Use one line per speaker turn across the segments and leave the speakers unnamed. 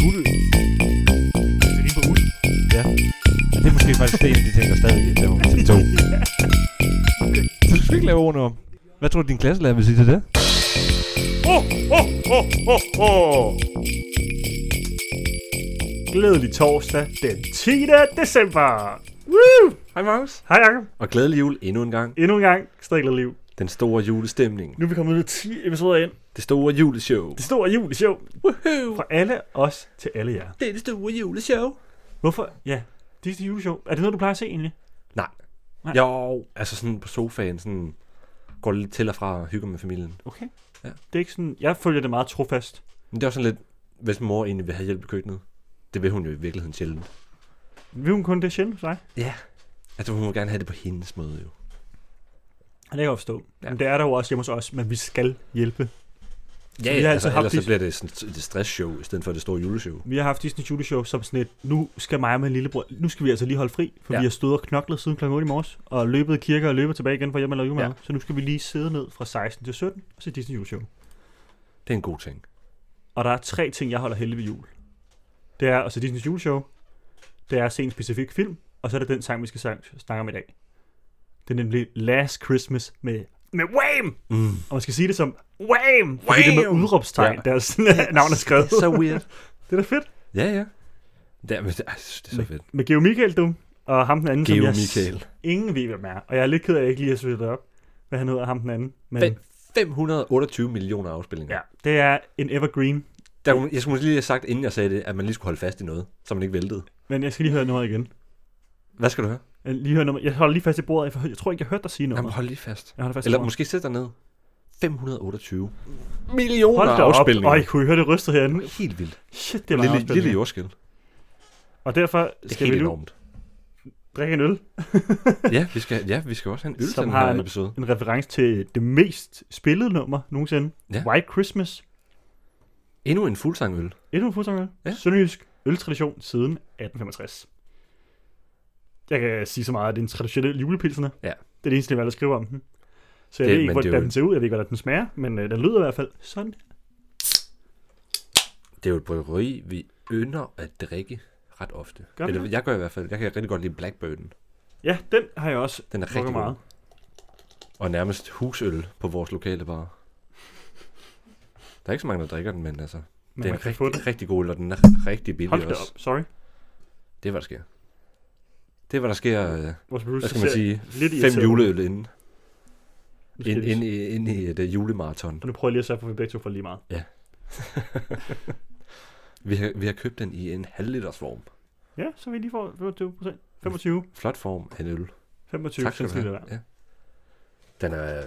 guld.
Det er lige på uld.
Og det er måske faktisk det, en af de ting, der stadig er på til to. Så du skal ikke lave ordene om. Hvad tror du, din klasselærer vil sige til det?
Glædelig torsdag den 10. december. Woo! Hej Magnus. Hej Jacob.
Og glædelig jul endnu en gang.
Endnu en gang, striklet liv.
Den store julestemning.
Nu er vi kommet ud af 10 episoder ind.
Det store juleshow.
Det store juleshow
Woohoo!
fra alle os til alle jer.
Det er det store juleshow.
Hvorfor? Ja, det er det juleshow. Er det noget, du plejer at se egentlig?
Nej.
Nej.
Jo, altså sådan på sofaen, sådan går lidt til og fra og hygger med familien.
Okay.
Ja.
Det er ikke sådan, jeg følger det meget trofast.
Men det er også sådan lidt, hvis mor egentlig vil have hjælp i køkkenet. Det vil hun jo i virkeligheden sjældent.
Vil hun kun det sjældent for dig?
Altså hun vil gerne have det på hendes måde jo.
Det kan jeg godt forstå. Ja.
Ja.
Men det er der jo også hjemme hos os, men vi skal hjælpe.
Ja,
Vi har altid
altså, altså
haft
ellers så
det-
bliver det sådan et stressshow, i stedet for det store juleshow.
Vi har haft Disney juleshow som sådan et, nu skal mig og min lillebror, nu skal vi altså lige holde fri, for ja.
Ja.
vi har stået og knoklet siden kl. 8 i morges, og løbet i kirker og løbet tilbage igen for hjemme og julemad. Ja.
Ja.
Så nu skal vi lige sidde ned fra 16 til 17 og se Disney juleshow.
Det er en god ting.
Og der er tre ting, jeg holder heldig ved jul. Det er at se Disney juleshow, det er at se en specifik film, og så er det den sang, vi skal sang- snakke om i dag. Det er nemlig Last Christmas med, med Wham!
Mm.
Og man skal sige det som Wham! Fordi det er med udråbstegn,
Ja.
ja. deres navn er skrevet.
Så weird.
Det er da fedt.
ja, ja. Det er, men, det, ej, det er så fedt.
Med Geo Michael, du, og ham den anden, som
Geo
jeg
Michael.
Ingen ved, hvem er. Og jeg er lidt ked af, at jeg ikke lige har søgt det op, hvad han hedder, ham den anden. Men
Fem- 528 millioner afspillinger.
ja, det er en evergreen.
Der, kunne- jeg skulle måske lige have sagt, inden jeg sagde det, at man lige skulle holde fast i noget, så man ikke væltede.
Men jeg skal lige høre noget igen.
Hvad skal du høre?
Jeg, lige høre nummer. jeg holder lige fast i bordet. Jeg, jeg tror ikke, jeg hørte dig sige noget.
Jamen, hold lige fast.
Jeg holder fast i
Eller
bordet.
måske sæt dig ned. 528 millioner
Hold da op.
afspilninger.
Øj, kunne I høre det ryste herinde?
Helt vildt.
Shit, det er mange
Lille, lille
afspilninger.
jordskæl.
Og derfor
Det er
skal vi
helt
nu
enormt.
drikke en øl.
Ja, vi skal, ja, vi skal også have en øl til
Som
den
har
her
en-
episode.
En reference til det mest spillede nummer nogensinde.
Ja.
White Christmas.
Endnu en fuldsangøl.
Endnu en fuldsanger. Ja.
Ja.
Sønderjysk øltradition siden 1865. Jeg kan sige så meget, at det er en traditionel julepilsner.
Ja.
Det er det eneste, jeg valgte at skrive om den. Så jeg
Det-
det, ved ikke,
men det er
hvordan
jo
den
en-
ser ud, jeg ved ikke, hvordan den smager, men øh, den lyder i hvert fald sådan.
Det er jo et bryggeri, vi ynder at drikke ret ofte.
Gør vi
Eller,
det?
jeg gør i hvert fald. Jeg kan rigtig godt lide Blackbirden.
Ja, den har jeg også
Den er
drukket
rigtig god. Og nærmest husøl på vores lokale bar. Der er ikke så mange, der drikker den, men altså...
Men
det er
man
en
kan få den.
rigtig, rigtig god, øl, og den er rigtig billig
Hold da
også.
op, sorry.
Det er, hvad der sker. Det er, hvad der sker, øh,
Vores
hvad
producer
skal man
ser
sige,
lidt
fem
irriterende.
juleøl inden,
Nu skal
ind,
jeg lige-
ind, i- ind i et uh, julemarathon.
Og nu prøver jeg lige at sørge for, at vi begge to får lige meget.
Vi har, vi har købt den i en halv liters form.
Ja, så vi lige får 25 procent. 25.
Flot form af en øl.
25
tak skal du
centiliter
have.
hver.
Ja. Den er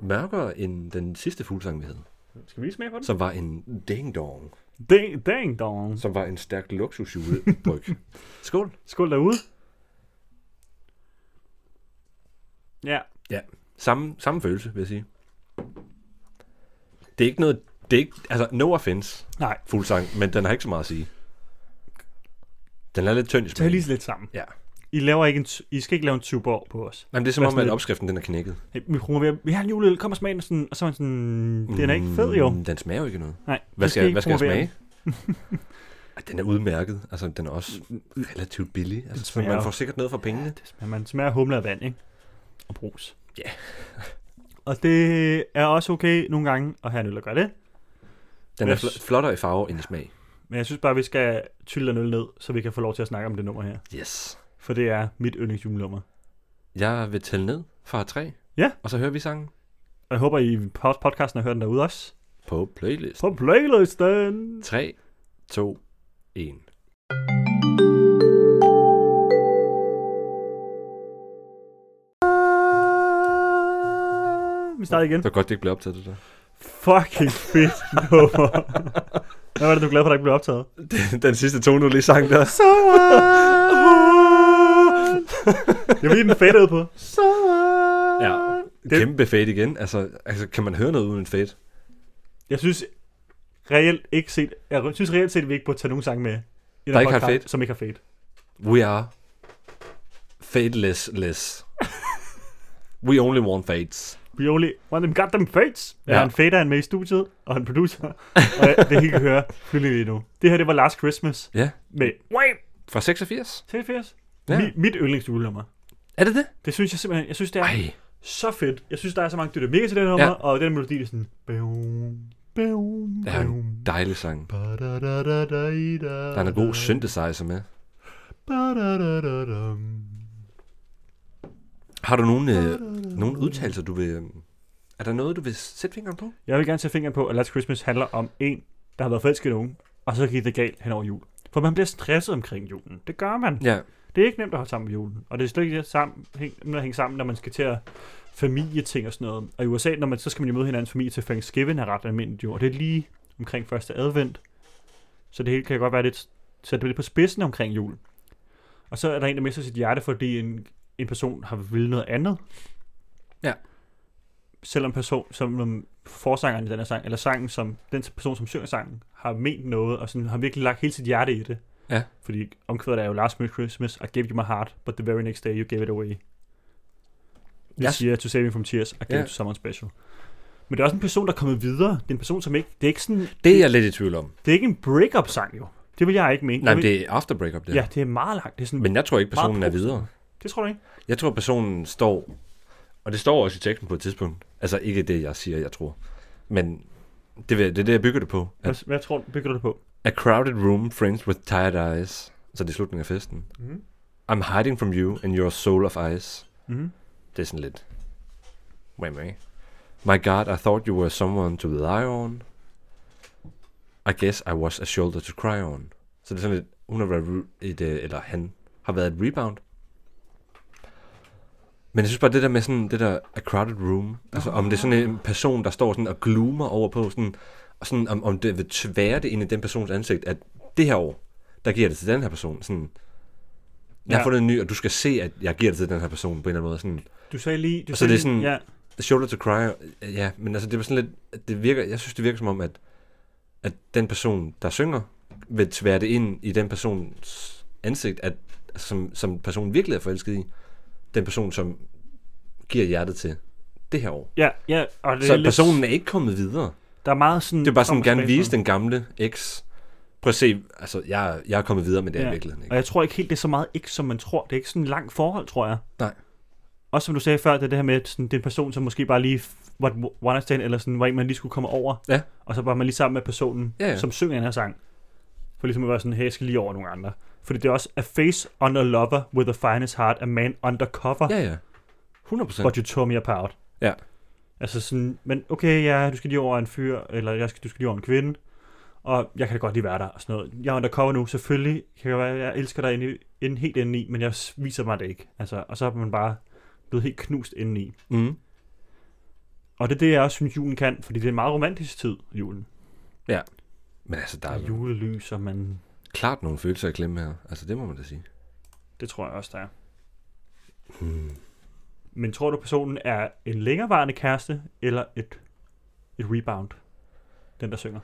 mørkere end den sidste fuglsang, vi havde,
Skal vi lige smage på den?
som var en ding dong,
Dang, dang dong.
som var en stærk luksusjulebryg. Skål.
Skål derude. Ja,
Samme, samme følelse, vil jeg sige. Det er ikke noget, det er ikke, altså no offense,
nej.
fuldsang, men den har ikke så meget at sige. Den er lidt tynd i
Tag
smagen.
lige så lidt sammen.
Ja.
I, laver ikke en, t- I skal ikke lave en tuborg på os.
Jamen, det er som
Hvad
om,
sådan
at
lidt-
opskriften den er knækket.
Hey, vi promoverer, vi har en juleøl, kom og smag den, sådan, og så er man sådan, den er ikke fed jo.
Mm, Den smager jo ikke noget.
Nej,
Hvad
det I
skal,
ikke
hvad skal jeg
promovere.
smage? Ej, den er udmærket. Altså, den er også relativt billig. Altså, så
smager
man
jo-
får sikkert noget for pengene.
Det smager, man smager humle og vand, ikke? Og brus.
Ja.
og det er også okay nogle gange at have en øl, der gør det.
Den er
Yes.
fl- flottere i farve end i smag.
Men jeg synes bare, vi skal tylde den øl ned, så vi kan få lov til at snakke om det nummer her.
Yes.
For det er mit yndlingsjulenummer.
Jeg vil tælle ned fra tre.
Ja.
Og så hører vi sangen
Og jeg håber, I pod- podcasten har hørt den derude også.
på playlist.
På playlisten!
3, 2, 1.
Vi starter igen.
Det var godt, det ikke blev optaget, det der.
Fucking fedt nummer. Hvad var det, du er glad for, at der ikke blev optaget?
Den, den sidste tone, du lige sang der.
Jeg vil lige den fadede på.
Ja.
Det-
Kæmpe fade igen. Altså, altså, kan man høre noget uden en fade?
Jeg synes reelt ikke set, jeg synes reelt set, at vi ikke burde tage nogen sang med. I den
ikke har
podcast,
fade?
Som ikke har fade.
We are fadeless less. We only want fades.
We only want them goddamn fates. Ja.
Ja.
Er en fader han med i studiet, og en producer. og jeg- det hele kan høre fylde lige nu. Det her, det var Last Christmas
Ja.
med Wham!
Fra 86?
83.
Ja.
Ja. Mi, mit yndlingsjulenummer.
Er det det?
Det synes jeg simpelthen, jeg synes det er Ej.
Nej.
så fedt. Jeg synes, der er så mange dytter mega til det her nummer,
Ja.
ja. og den melodi, det er sådan... Bæum, bæum,
Ja, en
bæum.
Dejlig sang. Der
Der
er en god synthesizer med. Har du nogen, øh, nogen udtalelser, du vil... øh, Er der noget, du vil sætte fingeren på?
Jeg vil gerne sætte fingeren på, at Last Christmas handler om en, der har været forelsket i nogen, og så gik det galt hen over jul. For man bliver stresset omkring julen. Det gør man.
Ja.
Det er ikke nemt at holde sammen med julen. Og det er slet ikke sammen, hæng, nemt at hænge sammen, når man skal til at familieting og sådan noget. Og i USA, når man, så skal man jo møde hinandens familie til Thanksgiving er ret almindeligt jo. Og det er lige omkring første advent. Så det hele kan godt være lidt, så det er lidt på spidsen omkring jul. Og så er der en, der mister sit hjerte, fordi en, en person har vil noget andet.
Ja.
Selvom person, som um, forsangeren i den her sang, eller sangen, som den person, som synger sangen, har ment noget, og sådan, har virkelig lagt hele sit hjerte i det. Fordi omkvædet er jo Last Merry Christmas, I gave you my heart, but the very next day you gave it away.
Jeg
This
s-
year to save me from tears, I gave
Ja.
yeah. to someone special. Men det er også en person, der er kommet videre. Det er en person, som ikke... Det er ikke, sådan,
Det er jeg lidt i tvivl om.
det er ikke en break-up-sang, jo. Det vil jeg ikke mene.
Nej,
jeg
men
vil,
det er after breakup, det
Ja, det er meget langt. Det er sådan,
Men jeg tror ikke, personen er
Meget positivt.
videre.
det tror du ikke?
Jeg tror, personen står, og det står også i teksten på et tidspunkt. Altså ikke det, jeg siger, jeg tror. Men det, vil- det er det, jeg bygger det på. At,
Hvad, hvad tror du, bygger du det på?
a crowded room, friends with tired eyes. Så det er slutningen af festen.
Mhm.
I'm hiding from you and your soul of ice.
Mm-hmm.
Det er sådan lidt... Wham, eh? My God, I thought you were someone to rely on. I guess I was a shoulder to cry on. Så det er sådan lidt, hun har været re- et, øh, eller han har været et rebound. Men jeg synes bare, det der med sådan, det der a crowded room, altså om det er sådan en person, der står sådan og gloomer over på sådan, og sådan om, om det vil tværte ind i den persons ansigt, at det her år, der giver jeg det til den her person, sådan, jeg har
Ja.
fundet en ny, og du skal se, at jeg giver det til den her person på en eller anden måde. Sådan,
Du sagde lige... Du
Og så
sagde
det er
lige,
sådan-
Ja,
The Shoulder to Cry, øh, ja, men altså det var sådan lidt, det virker, jeg synes det virker som om, at, at den person, der synger, vil tvære det ind i den persons ansigt, at, altså, som, som personen virkelig er forelsket i, den person, som giver hjertet til det her år.
ja, ja. Og det
Så
er lidt,
personen er ikke kommet videre.
Der er meget sådan...
Det er bare sådan,
frem og
gerne
tilbage
vise den gamle eks. Prøv at se, altså jeg, jeg er kommet videre, men det er ja.
Ja.
i virkeligheden
Og
ikke.
jeg tror ikke helt, det er så meget ikke, som man tror. Det er ikke sådan et langt forhold, tror jeg.
Nej.
Også som du sagde før, det er det her med, at sådan, det er en person, som måske bare lige f- var et one night stand, eller sådan, var en, man lige skulle komme over.
Ja.
Og så var man lige sammen med personen,
Ja, ja.
som synger den her sang. For ligesom at være sådan, hey, jeg skal lige over nogle andre. Fordi det er også, a face on a lover with the finest heart, a man undercover,
Ja, ja. 100 procent.
but you tore me apart.
Ja.
Altså sådan, men okay, ja, du skal lige over en fyr, eller jeg skal, du skal lige over en kvinde, og jeg kan da godt lige være der, og sådan noget. Jeg er undercover nu, selvfølgelig kan jeg være, jeg elsker dig inde, inde helt indeni, men jeg s- viser mig det ikke. Altså, og så er man bare blevet helt knust indeni.
Mm.
Og det er det, jeg også synes, julen kan, fordi det er en meget romantisk tid, julen.
Men altså, der
Der er
er
julelys, og man...
klart nogle følelser at klemme her. Altså det må man da sige.
Det tror jeg også, der er.
Mm.
Men tror du, personen er en længerevarende kæreste, eller et, et rebound? Den, der synger.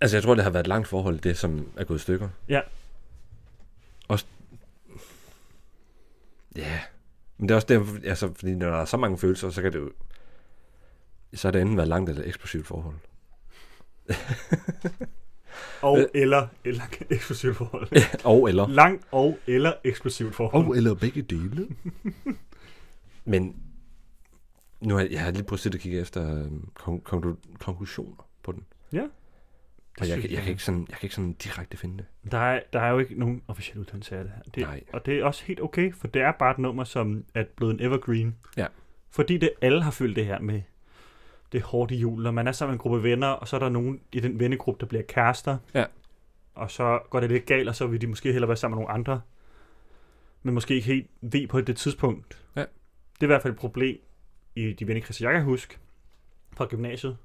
Altså, jeg tror, det har været et langt forhold, det som er gået i stykker.
Ja.
Også... Ja. Men det er også det, altså, fordi når der er så mange følelser, så kan det jo... Så har det enten været langt eller eksplosivt forhold.
Og
Øh.
eller, eller eksklusivt forhold.
og eller...
Langt og eller eksplosivt forhold.
Og eller begge dele. Men nu har jeg, jeg har lige prøvet at sidde og kigge efter øhm, kon- konklu- konklusioner på den.
Ja.
Og jeg,
synes
kan- jeg,
jeg.
kan ikke sådan, jeg kan ikke sådan direkte finde det.
Der er, der er jo ikke nogen officiel uddannelse af det her. Det,
Nej.
Og det er også helt okay, for det er bare et nummer, som er blevet en evergreen.
Ja.
Fordi det alle har følt det her med det hårde jul, når man er sammen med en gruppe venner, og så er der nogen i den vennegruppe, der bliver kærester.
Ja.
Og så går det lidt galt, og så vil de måske hellere være sammen med nogle andre. Men måske ikke helt ved på det tidspunkt.
Ja.
Det er i hvert fald et problem i de vennekredser, jeg kan huske fra gymnasiet.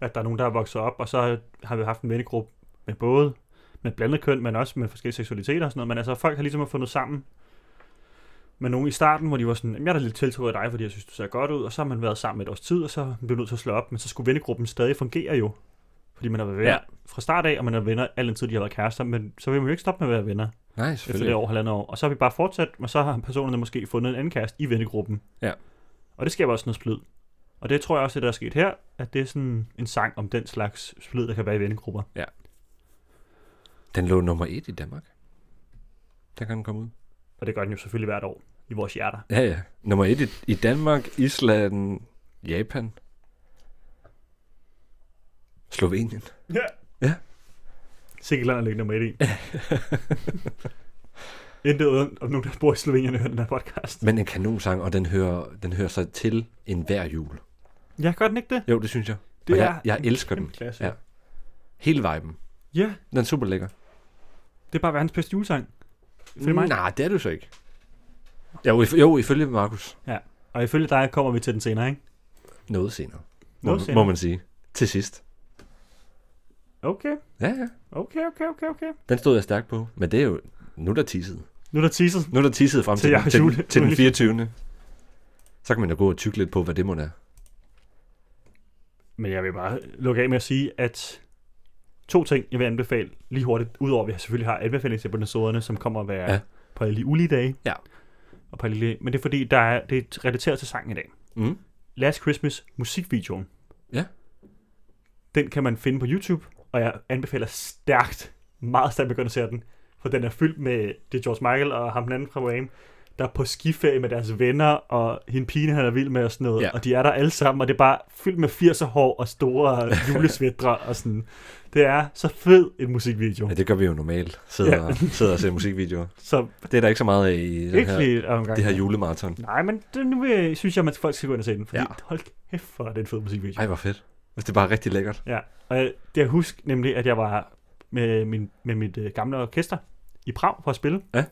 At der er nogen, der er vokset op, og så har vi haft en vennegruppe med både med blandet køn, men også med forskellige seksualiteter og sådan noget. Men altså, folk har ligesom fundet sammen med nogen i starten, hvor de var sådan, "Jamen, jeg er da lidt tiltrukket af dig, fordi jeg synes, du ser godt ud, og så har man været sammen et års tid, og så blev nødt til at slå op, men så skulle vennegruppen stadig fungere jo. Fordi man har været venner
Ja.
ja. fra start af, og man har venner al den tid, de har været kærester, men så vil man jo ikke stoppe med at være venner
Nej,
efter det
selvfølgelig.
år, halvandet år. Og så har vi bare fortsat, og så har personerne måske fundet en anden kæreste i vennegruppen.
Ja.
Og det skaber også noget splid. Og det tror jeg også, det der er sket her, at det er sådan en sang om den slags splid, der kan være i vennegrupper.
Den lå nummer et i Danmark. Der kan den komme ud.
Og det gør den jo selvfølgelig hvert år i vores hjerter.
Ja, ja. Nummer et i, i Danmark, Island, Japan, Slovenien.
Ja.
Ja.
Sikkert land at lægge nummer et i. Intet uden om nogen, der bor i Slovenien, hører den her podcast.
Men en kanonsang, og den hører, den hører sig til enhver jul.
Jeg gør den ikke det.
Jo, det synes jeg.
Det
og
er
jeg, jeg
en
elsker
kæmpe
den.
klasse.
Ja. Hele viben.
Ja,
Den er super lækker.
det er bare verdens bedste julesang. Ifølge mig.
Nej, det er du så ikke. Jo, if, jo ifølge Markus.
Og ifølge dig kommer vi til den senere, ikke?
Noget senere. Må,
Noget
man-
senere.
Må man sige. Til sidst.
Okay,
Ja, ja.
okay, okay, okay, okay.
Den stod jeg stærkt på. Men det er jo... Nu er der tisset.
Nu er der teaset.
Nu er der tisset frem
Til
til,
jeres
til, til,
jule-
den, til den
jule-
24. Så kan man jo gå og tykke lidt på, hvad det må er.
Men jeg vil bare lukke af med at sige, at to ting, jeg vil anbefale lige hurtigt, udover at vi selvfølgelig har anbefalingsepisoderne, som kommer at være ja.
Ja.
på alle de ulige dage.
Ja.
Og på alle de, men det er fordi, der er, det er relateret til sangen i dag.
Mm.
Last Christmas musikvideoen.
Ja.
Den kan man finde på YouTube, og jeg anbefaler stærkt, meget stærkt begyndt at se den, for den er fyldt med, det er George Michael og ham den anden fra Wham, der er på skiferie med deres venner, og hende pigen, han er vild med og sådan noget,
Ja.
og de er der alle sammen, og det er bare fyldt med 80'er hår og store julesvætre og sådan. Det er så fed en musikvideo.
Ja, det gør vi jo normalt. Sidder,
Ja.
ja. sidder og ser musikvideoer.
Så
Det er der ikke så meget af i den
ikke
her,
lige omgang.
det her julemarathon.
Nej, men det, nu vil, synes jeg, at folk skal gå ind og se den, fordi ja.
Ja.
hold kæft, hvor er det en fed musikvideo.
Ej, hvor fedt. Hvis det er bare rigtig lækkert.
Ja, og jeg, det jeg husker nemlig, at jeg var med, min, med mit øh, gamle orkester i Prag for at spille.
Ja.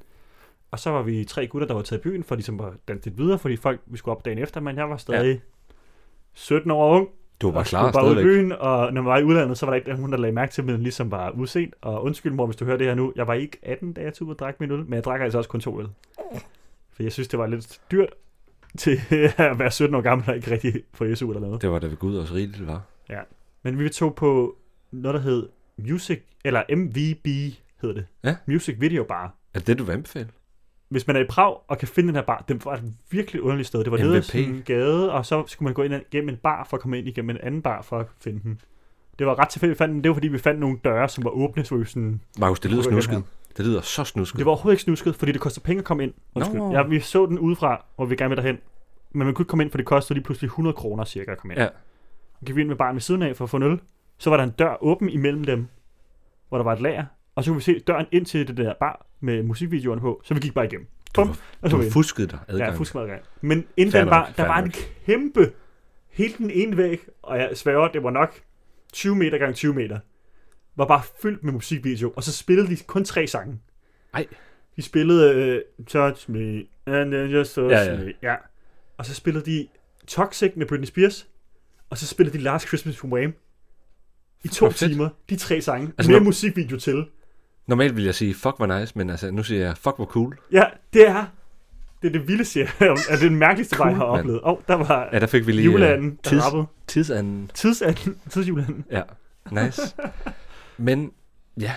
Og så var vi tre gutter, der var taget i byen for ligesom at danse lidt videre, fordi folk, vi skulle op dagen efter, men jeg var stadig ja. 17 år ung.
Du var bare
og
klar
skulle bare ud i
stadigvæk.
byen, og når man var i udlandet, så var der ikke nogen, der lagde mærke til, men ligesom var uset. Og undskyld mor, hvis du hører det her nu, jeg var ikke 18, da jeg tog ud og drak min øl, men jeg drak altså også kun to øl. For jeg synes, det var lidt dyrt til at være 17 år gammel og ikke rigtig få SU eller noget.
Det var da ved Gud også rigeligt, det var.
Men vi tog på noget, der hed Music, eller MVB hedder det.
Ja.
Music Video Bar.
Er det det, du vil anbefale?
Hvis man er i Prag og kan finde den her bar, den var et virkelig underligt sted. Det var nede i
MVP.
sådan en gade, og så skulle man gå ind gennem en bar for at komme ind igennem en anden bar for at finde den. Det var ret tilfældigt, vi fandt den. Det var fordi, vi fandt nogle døre, som var åbne, så vi sådan...
Markus, det lyder
Prøv at høre
snusket. Det lyder så snusket.
Det var overhovedet ikke snusket, fordi det koster penge at komme ind. Undskyld.
Nå.
Ja, vi så den udefra, hvor vi gerne ville derhen. Men man kunne ikke komme ind, for det kostede lige pludselig 100 kroner cirka at komme ind.
Ja.
Så gik vi ind med barn ved siden af for at få en øl. Så var der en dør åben imellem dem, hvor der var et lager. Og så kunne vi se døren ind til det der bar med musikvideoerne på, så vi gik bare igennem. Bum,
var-
og så
Du
var vi inde.
fuskede dig adgang.
Ja, fusk meget gang. Men inden
Fair
den
nok,
bar, der
fair
var en
nok.
kæmpe, hele den ene væg, og jeg sværger, det var nok 20 meter gange 20 meter, var bare fyldt med musikvideo, og så spillede de kun tre sange.
Ej.
De spillede øh, Touch Me, and then just touch
Ja,
ja,
ja.
ja. me. Ja. Og så spillede de Toxic med Britney Spears, og så spillede de Last Christmas from Wham. I to
Hvor fedt.
timer, de tre sange, altså,
Altså,
med
når-
musikvideo til.
Normalt vil jeg sige, fuck hvor nice, men altså, nu siger jeg, fuck hvor cool.
Ja, det er det, er det vildeste, jeg har- er det den mærkeligste vej, jeg har
Cool, mand.
oplevet. Åh, oh, der var
Ja, der fik vi lige... øh,
Juleanden, der
tids,
rappede.
tidsanden.
Tidsanden. Tidsjuleanden.
Ja, nice. men, ja.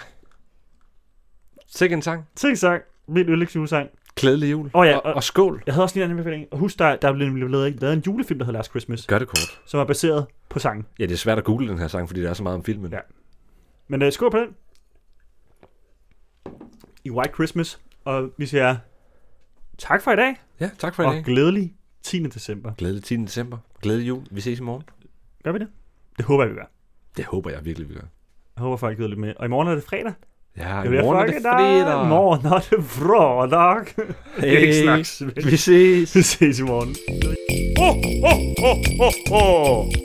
Sikke en sang.
Tænk sang. Min yndlingsjulesang.
Glædelig jul.
Åh ja,
og,
og-
og, skål.
Jeg havde også lige en anden anbefaling. Og husk, der, der blev nemlig lavet, lavet en julefilm, der hedder Last Christmas,
Gør det kort.
som er baseret på sangen.
Ja, det er svært at google den her sang, fordi der er så meget om filmen.
Ja. Men uh, skål på den. I White Christmas. Og vi siger tak for i dag,
ja tak for i
og
dag.
glædelig 10. december.
Glædelig 10. december. Glædelig jul. Vi ses i morgen.
Gør vi det? Det håber jeg, vi gør.
Det håber jeg virkelig, vi gør.
Jeg håber, folk gider lidt med. Og i morgen er det fredag.
Ja, i
Det bliver
morgen er det
fucking dag.
fredag.
I morgen er det fredag.
Hey,
Ikke snakke svensk.
vi ses.
Vi ses i morgen. Oh, oh, oh, oh, oh.